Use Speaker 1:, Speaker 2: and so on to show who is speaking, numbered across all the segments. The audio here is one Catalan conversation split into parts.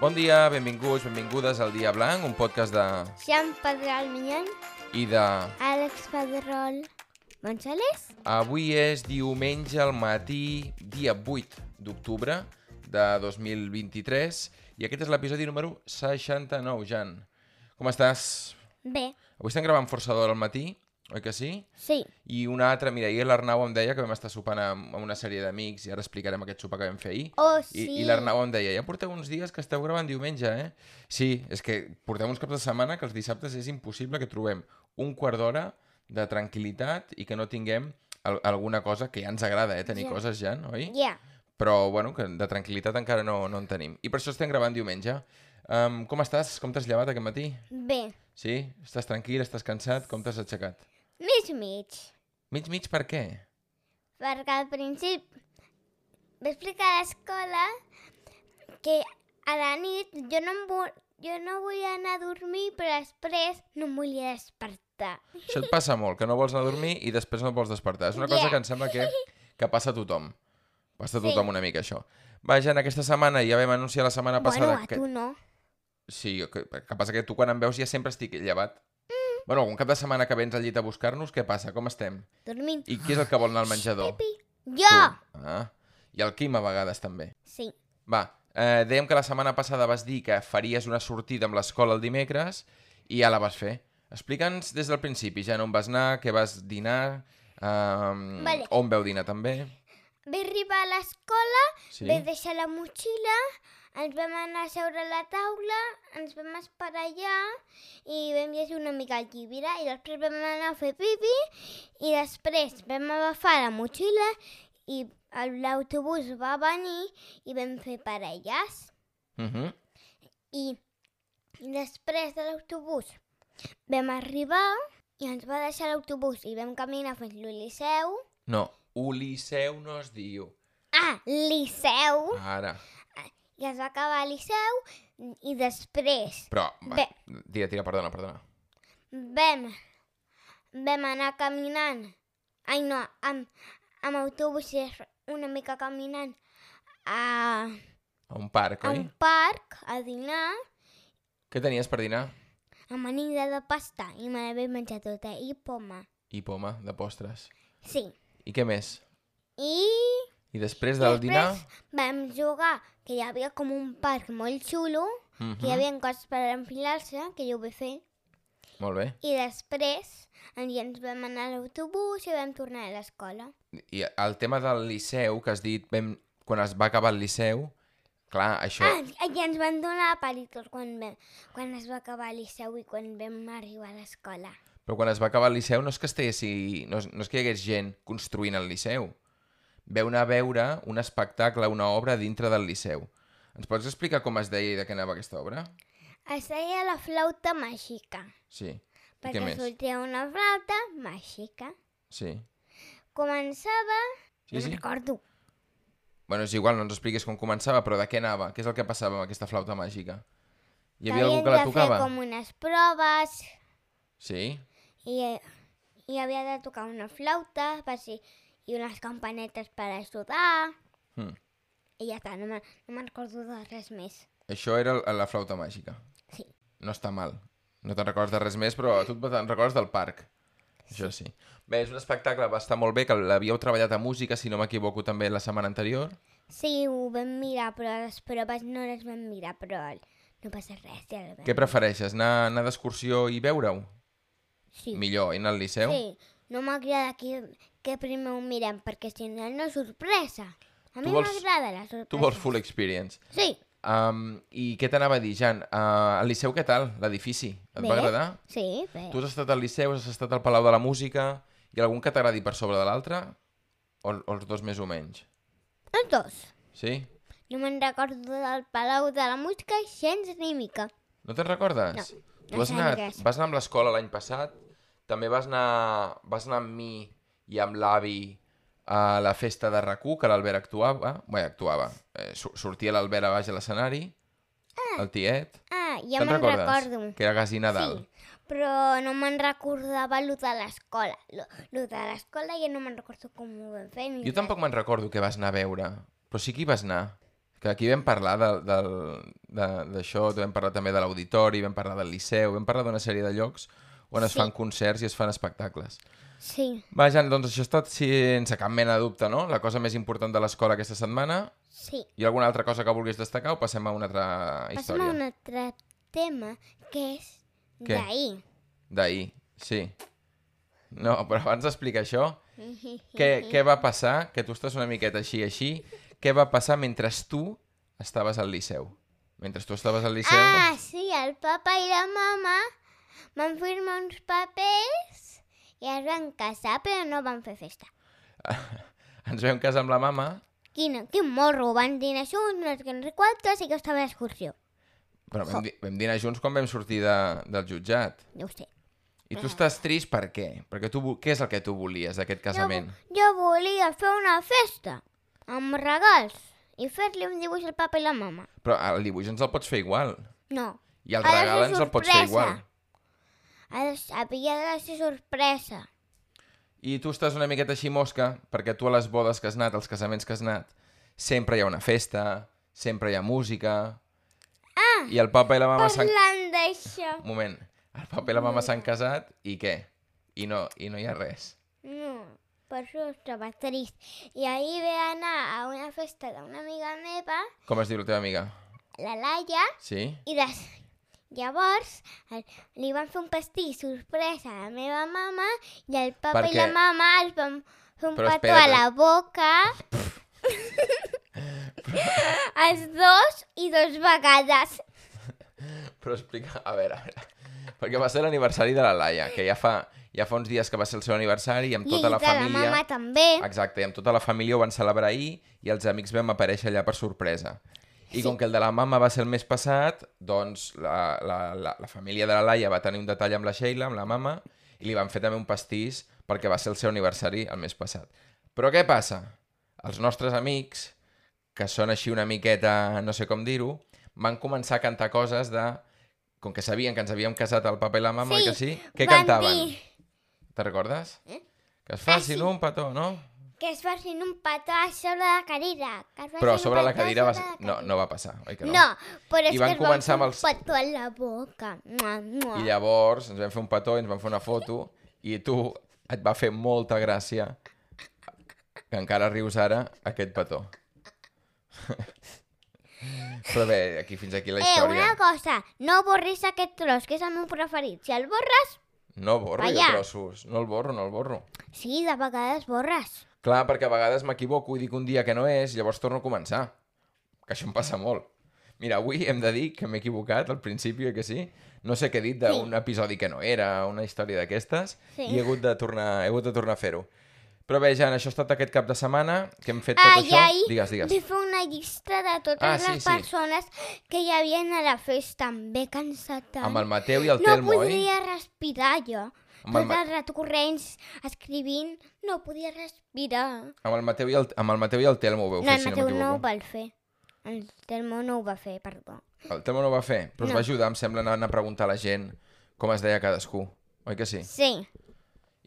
Speaker 1: Bon dia, benvinguts, benvingudes al Dia Blanc, un podcast de...
Speaker 2: Jean Pedral Minyany,
Speaker 1: i de...
Speaker 2: Àlex Pedrol Monchales.
Speaker 1: Avui és diumenge al matí, dia 8 d'octubre de 2023, i aquest és l'episodi número 69, Jan. Com estàs?
Speaker 2: Bé,
Speaker 1: Avui estem gravant força d'hora al matí, oi que sí?
Speaker 2: sí,
Speaker 1: I una altra, mira, ahir l'Arnau em deia que vam estar sopant amb, amb una sèrie d'amics, i ara explicarem aquest sopar que vam fer ahir.
Speaker 2: Oh,
Speaker 1: I,
Speaker 2: sí.
Speaker 1: i l'Arnau em deia, ja porteu uns dies que esteu gravant diumenge, eh? Sí, és que portem uns caps de setmana que els dissabtes és impossible que trobem un quart d'hora de tranquil·litat i que no tinguem al alguna cosa que ja ens agrada, eh? Tenir
Speaker 2: Ja.
Speaker 1: coses ja, oi?
Speaker 2: ja. Yeah.
Speaker 1: Però, bueno, que de tranquil·litat encara no, no en tenim. I per això estem gravant diumenge. Um, com estàs? Com t'has llevat aquest matí?
Speaker 2: Bé,
Speaker 1: Sí? Estàs tranquil? Estàs cansat? Com t'has aixecat?
Speaker 2: mig mig.
Speaker 1: Mig, mig, per què?
Speaker 2: Perquè al principi va explicar a l'escola que a la nit jo no, em vo- jo no volia anar a dormir, però després no em volia despertar.
Speaker 1: Això et passa molt, que no vols anar a dormir i després no et vols despertar. És una cosa
Speaker 2: Yeah.
Speaker 1: que em sembla que, que passa a tothom. Passa a
Speaker 2: Sí.
Speaker 1: tothom una mica, això. Vaja, en aquesta setmana, ja vam anunciar la setmana passada...
Speaker 2: bueno, a tu no.
Speaker 1: Sí, jo que, que passa que tu quan em veus ja sempre estic llevat. Mm. Bueno, algun cap de setmana que vens al llit a buscar-nos, què passa? Com estem?
Speaker 2: Dormint.
Speaker 1: I qui és el que vol anar al menjador?
Speaker 2: Pipi. Jo!
Speaker 1: Tu. Ah. I el Quim a vegades també.
Speaker 2: Sí.
Speaker 1: Va, eh, dèiem que la setmana passada vas dir que faries una sortida amb l'escola el dimecres i ja la vas fer. Explica'ns des del principi, ja on vas anar, què vas dinar, um,
Speaker 2: Vale.
Speaker 1: on veu dinar també.
Speaker 2: Vaig arribar a l'escola
Speaker 1: Sí.
Speaker 2: Vaig deixar la motxilla, ens vam anar a seure a la taula, ens vam esperar allà i vam llegir una mica el llibre i després vam anar a fer pipi i després vam agafar la motxilla i el- l'autobús va venir i vam fer parelles.
Speaker 1: Uh -huh.
Speaker 2: I després de l'autobús vam arribar i ens va deixar l'autobús i vam caminar fins a Liceu.
Speaker 1: No, Uliseu no es diu.
Speaker 2: Ah, Liceu!
Speaker 1: Ara.
Speaker 2: i es va acabar a Liceu i després
Speaker 1: Però, va,
Speaker 2: Bé.
Speaker 1: tira, tira, perdona, perdona.
Speaker 2: vam, vam anar caminant, ai no, amb, amb autobús i després una mica caminant a,
Speaker 1: A un parc,
Speaker 2: a
Speaker 1: oi?
Speaker 2: un parc a dinar
Speaker 1: Què tenies per dinar?
Speaker 2: amb anida de pasta i me la vaig menjar tota i poma.
Speaker 1: I poma, de postres.
Speaker 2: Sí.
Speaker 1: I què més?
Speaker 2: I
Speaker 1: I després del dinar...
Speaker 2: vam jugar, que hi havia com un parc molt xulo,
Speaker 1: Uh
Speaker 2: que hi havia coses per enfilar-se, que jo ho vaig fer.
Speaker 1: Molt bé.
Speaker 2: I després en- i ens vam anar a l'autobús i vam tornar a l'escola.
Speaker 1: I el tema del Liceu, que has dit vam, quan es va acabar el Liceu, clar, això...
Speaker 2: Ah, i ens van donar palitos quan, vam, quan es va acabar el liceu i quan vam arribar a l'escola.
Speaker 1: Però quan es va acabar el Liceu no és que, estiguessi, no, és- no és que hi hagués gent construint el Liceu. Veu anar a veure un espectacle, una obra dintre del Liceu. Ens pots explicar com es deia i de què anava aquesta obra?
Speaker 2: Es deia la flauta màgica,
Speaker 1: Sí. I què
Speaker 2: perquè
Speaker 1: més?
Speaker 2: sortia una flauta màgica.
Speaker 1: Sí.
Speaker 2: Començava...
Speaker 1: Sí,
Speaker 2: No
Speaker 1: sí.
Speaker 2: recordo.
Speaker 1: Bueno, és igual, no ens expliquis com començava, però de què anava? Què és el que passava amb aquesta flauta màgica? Hi havia algú
Speaker 2: Havien
Speaker 1: que la
Speaker 2: de
Speaker 1: tocava?
Speaker 2: fer com unes proves
Speaker 1: Sí?
Speaker 2: i, i havia de tocar una flauta per si, i unes campanetes per ajudar.
Speaker 1: Hm.
Speaker 2: I ja està, no me'n no me'n recordo de res més.
Speaker 1: Això era el- la flauta màgica.
Speaker 2: Sí.
Speaker 1: No està mal. No te'n recordes de res més, però tu te'n recordes del parc. Això sí. Bé, és un espectacle, va estar molt bé, que l'havíeu treballat a música, si no m'equivoco, també la setmana anterior.
Speaker 2: Sí, ho vam mirar, però les proves no les vam mirar, però no passa res, ja la vam.
Speaker 1: Què prefereixes, anar, anar d'excursió i veure-ho?
Speaker 2: Sí,
Speaker 1: Millor, anar al Liceu?
Speaker 2: sí. No m'agrada que, que primer ho mirem, perquè si no, no és sorpresa. A mi
Speaker 1: vols-
Speaker 2: m'agrada la sorpresa.
Speaker 1: Tu vols full experience.
Speaker 2: Sí,
Speaker 1: Um, I què t'anava a dir, Jan? Uh, al Liceu què tal, l'edifici? Et
Speaker 2: Bé.
Speaker 1: va agradar?
Speaker 2: sí, bé.
Speaker 1: Tu has estat al Liceu, has estat al Palau de la Música... Hi ha algun que t'agradi per sobre de l'altre? O, o els dos més o menys?
Speaker 2: Els dos.
Speaker 1: Sí?
Speaker 2: No me'n recordo del Palau de la Música gens ni mica.
Speaker 1: No te'n recordes?
Speaker 2: No,
Speaker 1: Tu
Speaker 2: no
Speaker 1: vas
Speaker 2: sé
Speaker 1: anar,
Speaker 2: res.
Speaker 1: vas anar amb l'escola l'any passat, també vas anar, vas anar amb mi i amb l'avi a la festa de RAC1, que l'Albert actuava, bé, actuava, eh, su- sortia l'Albert a baix a l'escenari, el tiet,
Speaker 2: Ah, ja
Speaker 1: te'n
Speaker 2: me'n
Speaker 1: recordes?
Speaker 2: recordo.
Speaker 1: Que era Gasi Nadal.
Speaker 2: Però no me'n recordava allò de l'escola. Lo, lo de l'escola ja no me'n recordo com ho vam fer. Ni
Speaker 1: Jo tampoc me'n recordo què vas anar a veure, però sí que hi vas anar. Que aquí vam parlar del- del- de- d'això, de, vam parlar també de l'auditori, vam parlar del Liceu, vam parlar d'una sèrie de llocs on es
Speaker 2: Sí.
Speaker 1: fan concerts i es fan espectacles.
Speaker 2: Sí,
Speaker 1: Va, Jan, doncs això ha estat sense cap mena de dubte, no? La cosa més important de l'escola aquesta setmana.
Speaker 2: sí.
Speaker 1: Hi ha alguna altra cosa que vulguis destacar o passem a una altra
Speaker 2: Passem
Speaker 1: història?
Speaker 2: a un altre tema, que és
Speaker 1: Què?
Speaker 2: d'ahir.
Speaker 1: D'ahir, sí. No, però abans d'explicar això, què, què va passar? Que tu estàs una miqueta així, així. Què va passar mentre tu estaves al Liceu? Mentre tu estaves al Liceu...
Speaker 2: Ah, sí, el papa i la mama van firmar uns papers i es van casar, però no van fer festa.
Speaker 1: Ens vam casar amb la mama,
Speaker 2: Quin, quin morro, van dinar junts, no sé què, no sé quantos, i que estava d'excursió.
Speaker 1: però vam, di vam dinar junts quan vam sortir de, del jutjat.
Speaker 2: No ho sé.
Speaker 1: I tu estàs trist per què? Perquè tu, vo- què és el que tu volies d'aquest casament?
Speaker 2: Ah. Jo volia fer una festa amb regals i fer-li un dibuix al papa i la mama.
Speaker 1: Però el dibuix ens el pots fer igual.
Speaker 2: No,
Speaker 1: I el
Speaker 2: Ha de ser
Speaker 1: regal ens el pots fer
Speaker 2: sorpresa.
Speaker 1: igual.
Speaker 2: ha de, havia de ser sorpresa.
Speaker 1: I tu estàs una miqueta així mosca, perquè tu a les bodes que has anat, als casaments que has anat, sempre hi ha una festa, sempre hi ha música... Ah, I el papa i la mama s'han...
Speaker 2: Parlant d'això.
Speaker 1: Un moment. El papa i la mama s'han casat i què? I no, i no hi ha res.
Speaker 2: No, Mm, per això estava trist. I ahir ve anar a una festa d'una amiga meva,
Speaker 1: Com es diu la teva amiga?
Speaker 2: la Laia,
Speaker 1: Sí?
Speaker 2: i des... llavors el- li van fer un pastís sorpresa a la meva mama i el papa i la
Speaker 1: Perquè-
Speaker 2: mama els van fer un
Speaker 1: Però
Speaker 2: petó
Speaker 1: espera,
Speaker 2: a la boca. els dos i dos vegades.
Speaker 1: Però explica, a veure, a veure. Perquè va ser l'aniversari de la Laia, que ja fa, ja fa uns dies que va ser el seu aniversari i amb tota
Speaker 2: I
Speaker 1: la
Speaker 2: de la
Speaker 1: família...
Speaker 2: mama també.
Speaker 1: Exacte, i amb tota la família ho van celebrar ahir i els amics vam aparèixer allà per sorpresa. I com que el de la mama va ser el més passat, doncs la, la, la, la família de la Laia va tenir un detall amb la Sheila, amb la mama, i li van fer també un pastís perquè va ser el seu aniversari el més passat. Però què passa? Els nostres amics, que són així una miqueta, no sé com dir-ho, van començar a cantar coses de... Com que sabien que ens havíem casat el papa i la mama,
Speaker 2: Sí,
Speaker 1: oi que sí? Què
Speaker 2: van
Speaker 1: cantaven?
Speaker 2: dir-
Speaker 1: Te recordes?
Speaker 2: Eh?
Speaker 1: Que es facin
Speaker 2: sí.
Speaker 1: un petó, no?
Speaker 2: Que es facin un petó a sobre la cadira. Que es
Speaker 1: Però
Speaker 2: facin un
Speaker 1: sobre la
Speaker 2: petó a
Speaker 1: cadira va...
Speaker 2: sobre la
Speaker 1: no, no va passar, oi que no?
Speaker 2: No, però és
Speaker 1: I van
Speaker 2: que
Speaker 1: començar
Speaker 2: es
Speaker 1: amb
Speaker 2: van
Speaker 1: els-
Speaker 2: fer un petó a la boca. Mua, mua.
Speaker 1: I llavors ens vam fer un petó i ens vam fer una foto i tu et va fer molta gràcia que encara rius ara aquest petó. Però bé, aquí fins aquí la
Speaker 2: Eh,
Speaker 1: història.
Speaker 2: una cosa, no borris aquest tros, que és el meu preferit. Si el borres,
Speaker 1: No borro jo
Speaker 2: Allà.
Speaker 1: trossos. No el borro, no el borro.
Speaker 2: sí, de vegades borres.
Speaker 1: Clar, perquè a vegades m'equivoco i dic un dia que no és, llavors torno a començar. Que això em passa molt. Mira, avui hem de dir que m'he equivocat al principi, oi que sí? No sé què he dit d'un episodi que no era, una història d'aquestes,
Speaker 2: Sí.
Speaker 1: i he hagut de tornar, he hagut de tornar a fer-ho. Però bé, Jan, això ha estat aquest cap de setmana, que hem fet Eh, tot
Speaker 2: Ai,
Speaker 1: això.
Speaker 2: ai,
Speaker 1: Digues, digues.
Speaker 2: vull fer una llista de totes
Speaker 1: Ah, sí,
Speaker 2: les
Speaker 1: sí.
Speaker 2: persones que hi havien a la festa. Em ve cansat tant.
Speaker 1: Amb el Mateu i el
Speaker 2: no
Speaker 1: Telmo, oi?
Speaker 2: podia respirar jo.
Speaker 1: Amb el
Speaker 2: Tot
Speaker 1: Ma-
Speaker 2: el rato corrents, escrivint, no podia respirar.
Speaker 1: Amb el Mateu i el, amb el, Mateu i el Telmo ho veu
Speaker 2: No,
Speaker 1: fer,
Speaker 2: el
Speaker 1: si no
Speaker 2: Mateu no ho
Speaker 1: m'equivoco.
Speaker 2: va fer. El Telmo no ho va fer, perdó.
Speaker 1: El Telmo no ho va fer, però es
Speaker 2: No.
Speaker 1: va ajudar, em sembla, anant a preguntar a la gent com es deia cadascú. Oi que sí?
Speaker 2: Sí,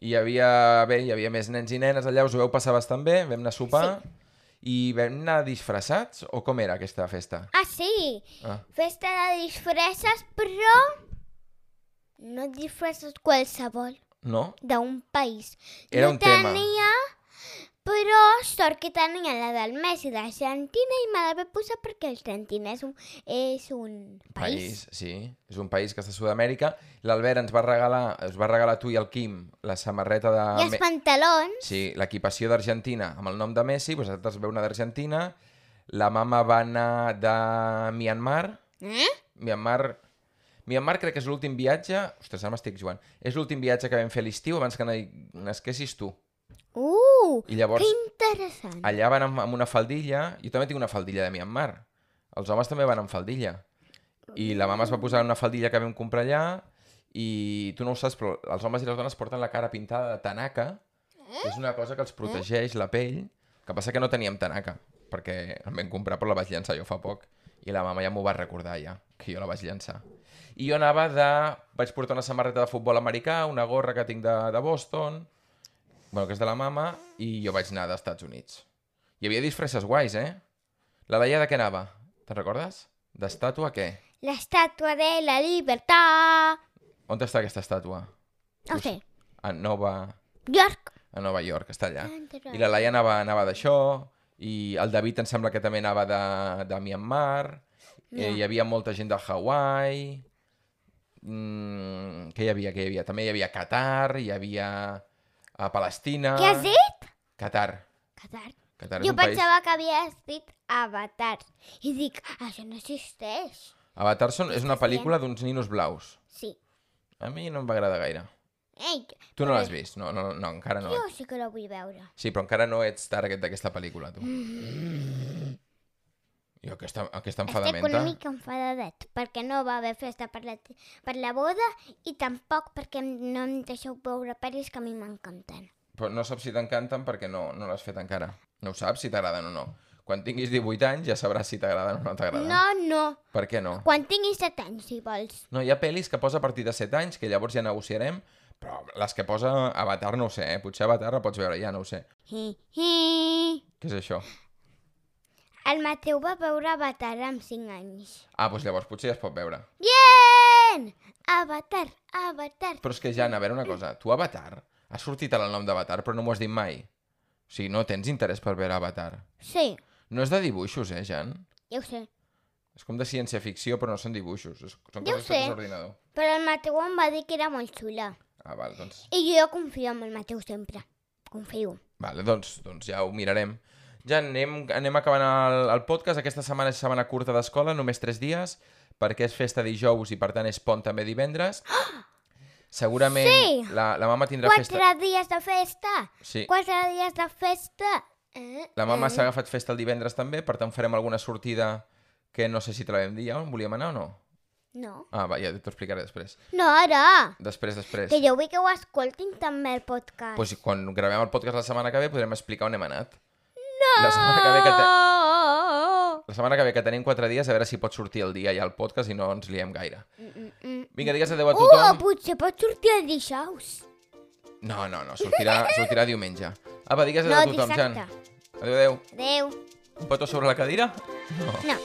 Speaker 1: Hi havia, bé, hi havia més nens i nenes allà, us ho veu passar bastant bé, vam anar a sopar i vam anar disfressats o com era aquesta festa?
Speaker 2: ah sí,
Speaker 1: Ah,
Speaker 2: festa de disfresses, però no disfresses qualsevol
Speaker 1: no?
Speaker 2: d'un país.
Speaker 1: Era
Speaker 2: no
Speaker 1: un tema.
Speaker 2: tenia, però sort que tenia la del Messi d'Argentina i me la va posar perquè Argentina és un, és un país.
Speaker 1: Sí, és un país que està a Sud-amèrica. L'Albert ens va regalar, us va regalar a tu i al Quim la samarreta de...
Speaker 2: I els
Speaker 1: Me-
Speaker 2: pantalons,
Speaker 1: Sí, l'equipació d'Argentina amb el nom de Messi, vosaltres veu una d'Argentina, la mama va anar de Myanmar,
Speaker 2: eh?
Speaker 1: Myanmar... Myanmar crec que és l'últim viatge... Ostres, ara m'estic jugant. És l'últim viatge que vam fer a l'estiu abans que na- nascessis tu.
Speaker 2: Uh,
Speaker 1: I llavors
Speaker 2: que interessant.
Speaker 1: allà van amb, amb una faldilla, jo també tinc una faldilla de Myanmar, els homes també van amb faldilla, i la mama es va posar una faldilla que vam comprar allà, i tu no ho saps, però els homes i les dones porten la cara pintada de tanaka, que és una cosa que els protegeix la pell, que passa que no teníem tanaka, perquè em vam comprar però la vaig llançar jo fa poc, i la mama ja m'ho va recordar ja, que jo la vaig llançar. I jo anava de... Vaig portar una samarreta de futbol americà, una gorra que tinc de, de Boston, bueno, que és de la mama, i jo vaig anar d'Estats Units. Hi havia disfresses guais, eh? La Laia de què anava? Te'n recordes? D'estàtua què?
Speaker 2: L'estàtua de la llibertat.
Speaker 1: On està aquesta estàtua?
Speaker 2: No
Speaker 1: Us-
Speaker 2: sé.
Speaker 1: A Nova,
Speaker 2: York.
Speaker 1: a
Speaker 2: Ah,
Speaker 1: Nova York, està allà.
Speaker 2: I
Speaker 1: I la Laia anava, anava d'això, i el David em sembla que també anava de, de Myanmar, eh,
Speaker 2: Ja.
Speaker 1: hi havia molta gent de Hawaii, mm, què hi havia, què hi havia? També hi havia Qatar, hi havia a Palestina...
Speaker 2: Què has dit?
Speaker 1: Qatar.
Speaker 2: Qatar.
Speaker 1: Qatar és
Speaker 2: Jo
Speaker 1: un
Speaker 2: pensava que havies dit Avatar. I dic, això no existeix.
Speaker 1: país... Avatar són, és una
Speaker 2: Estàs
Speaker 1: pel·lícula d'uns ninos blaus.
Speaker 2: Sí.
Speaker 1: A mi no em va agradar gaire.
Speaker 2: Ei,
Speaker 1: Tu no l'has vist? No, no, no, encara no.
Speaker 2: jo sí que la vull veure.
Speaker 1: Sí, però encara no ets target d'aquesta pel·lícula, tu. Jo aquesta, aquesta
Speaker 2: Estic una
Speaker 1: enfadamenta...
Speaker 2: mica enfadadet, perquè no va haver festa per la, per la boda i tampoc perquè no em deixeu veure pel·lis que a mi m'encanten.
Speaker 1: Però no saps si t'encanten perquè no, no l'has fet encara. No ho saps si t'agraden o no. Quan tinguis 18 anys ja sabràs si t'agraden o no t'agraden.
Speaker 2: No, no.
Speaker 1: Per què no?
Speaker 2: Quan tinguis 7 anys, si vols.
Speaker 1: No, hi ha pel·lis que posa a partir de 7 anys, que llavors ja negociarem, però les que posa Avatar no ho sé, eh? Potser Avatar la pots veure ja, no ho sé.
Speaker 2: Hi, hi.
Speaker 1: Què és això?
Speaker 2: El Mateu va veure Avatar amb 5 anys.
Speaker 1: Ah, doncs llavors potser ja es pot veure.
Speaker 2: Bien! Avatar, Avatar.
Speaker 1: Però és que, Jan, a veure una cosa. Tu, Avatar, ha sortit ara el nom d'Avatar, però no m'ho has dit mai. O sigui, no tens interès per veure Avatar.
Speaker 2: Sí,
Speaker 1: No és de dibuixos, eh, Jan?
Speaker 2: ja ho sé.
Speaker 1: És com de ciència-ficció, però no són dibuixos. És- Són
Speaker 2: Ja ho
Speaker 1: coses fetes
Speaker 2: sé.
Speaker 1: a ordinador.
Speaker 2: Però el Mateu em va dir que era molt xula.
Speaker 1: Ah, val, doncs...
Speaker 2: I jo confio en el Mateu sempre. Confio.
Speaker 1: Vale, doncs, doncs ja ho mirarem. Ja anem, anem acabant el, el podcast. Aquesta setmana és setmana curta d'escola, només 3 dies, perquè és festa dijous i, per tant, és pont també divendres. Segurament
Speaker 2: Sí!
Speaker 1: la, la mama tindrà
Speaker 2: Quatre
Speaker 1: festa...
Speaker 2: dies de festa!
Speaker 1: Sí,
Speaker 2: Quatre dies de festa! Eh?
Speaker 1: la mama s'ha agafat festa el divendres també, per tant farem alguna sortida que no sé si te la vam dir ja on volíem anar o no.
Speaker 2: No.
Speaker 1: Ah, va, ja t'ho explicaré després.
Speaker 2: No, ara!
Speaker 1: Després, després.
Speaker 2: Que jo vull que ho escoltin també el podcast.
Speaker 1: Pues, quan gravem el podcast la setmana que ve podrem explicar on hem anat. No! La setmana que ve que, te...
Speaker 2: Oh!
Speaker 1: La setmana que ve, que tenim 4 dies, a veure si pot sortir el dia i el podcast i no ens liem gaire.
Speaker 2: Mm, mm.
Speaker 1: Vinga, digues adeu a
Speaker 2: Uh,
Speaker 1: tothom.
Speaker 2: potser pot sortir el dijous.
Speaker 1: No, no, no, sortirà, sortirà diumenge. Apa, digues adeu
Speaker 2: No,
Speaker 1: a tothom,
Speaker 2: dissabte.
Speaker 1: Jan. Adeu, adeu.
Speaker 2: Adeu.
Speaker 1: Un petó sobre la cadira? No.
Speaker 2: No.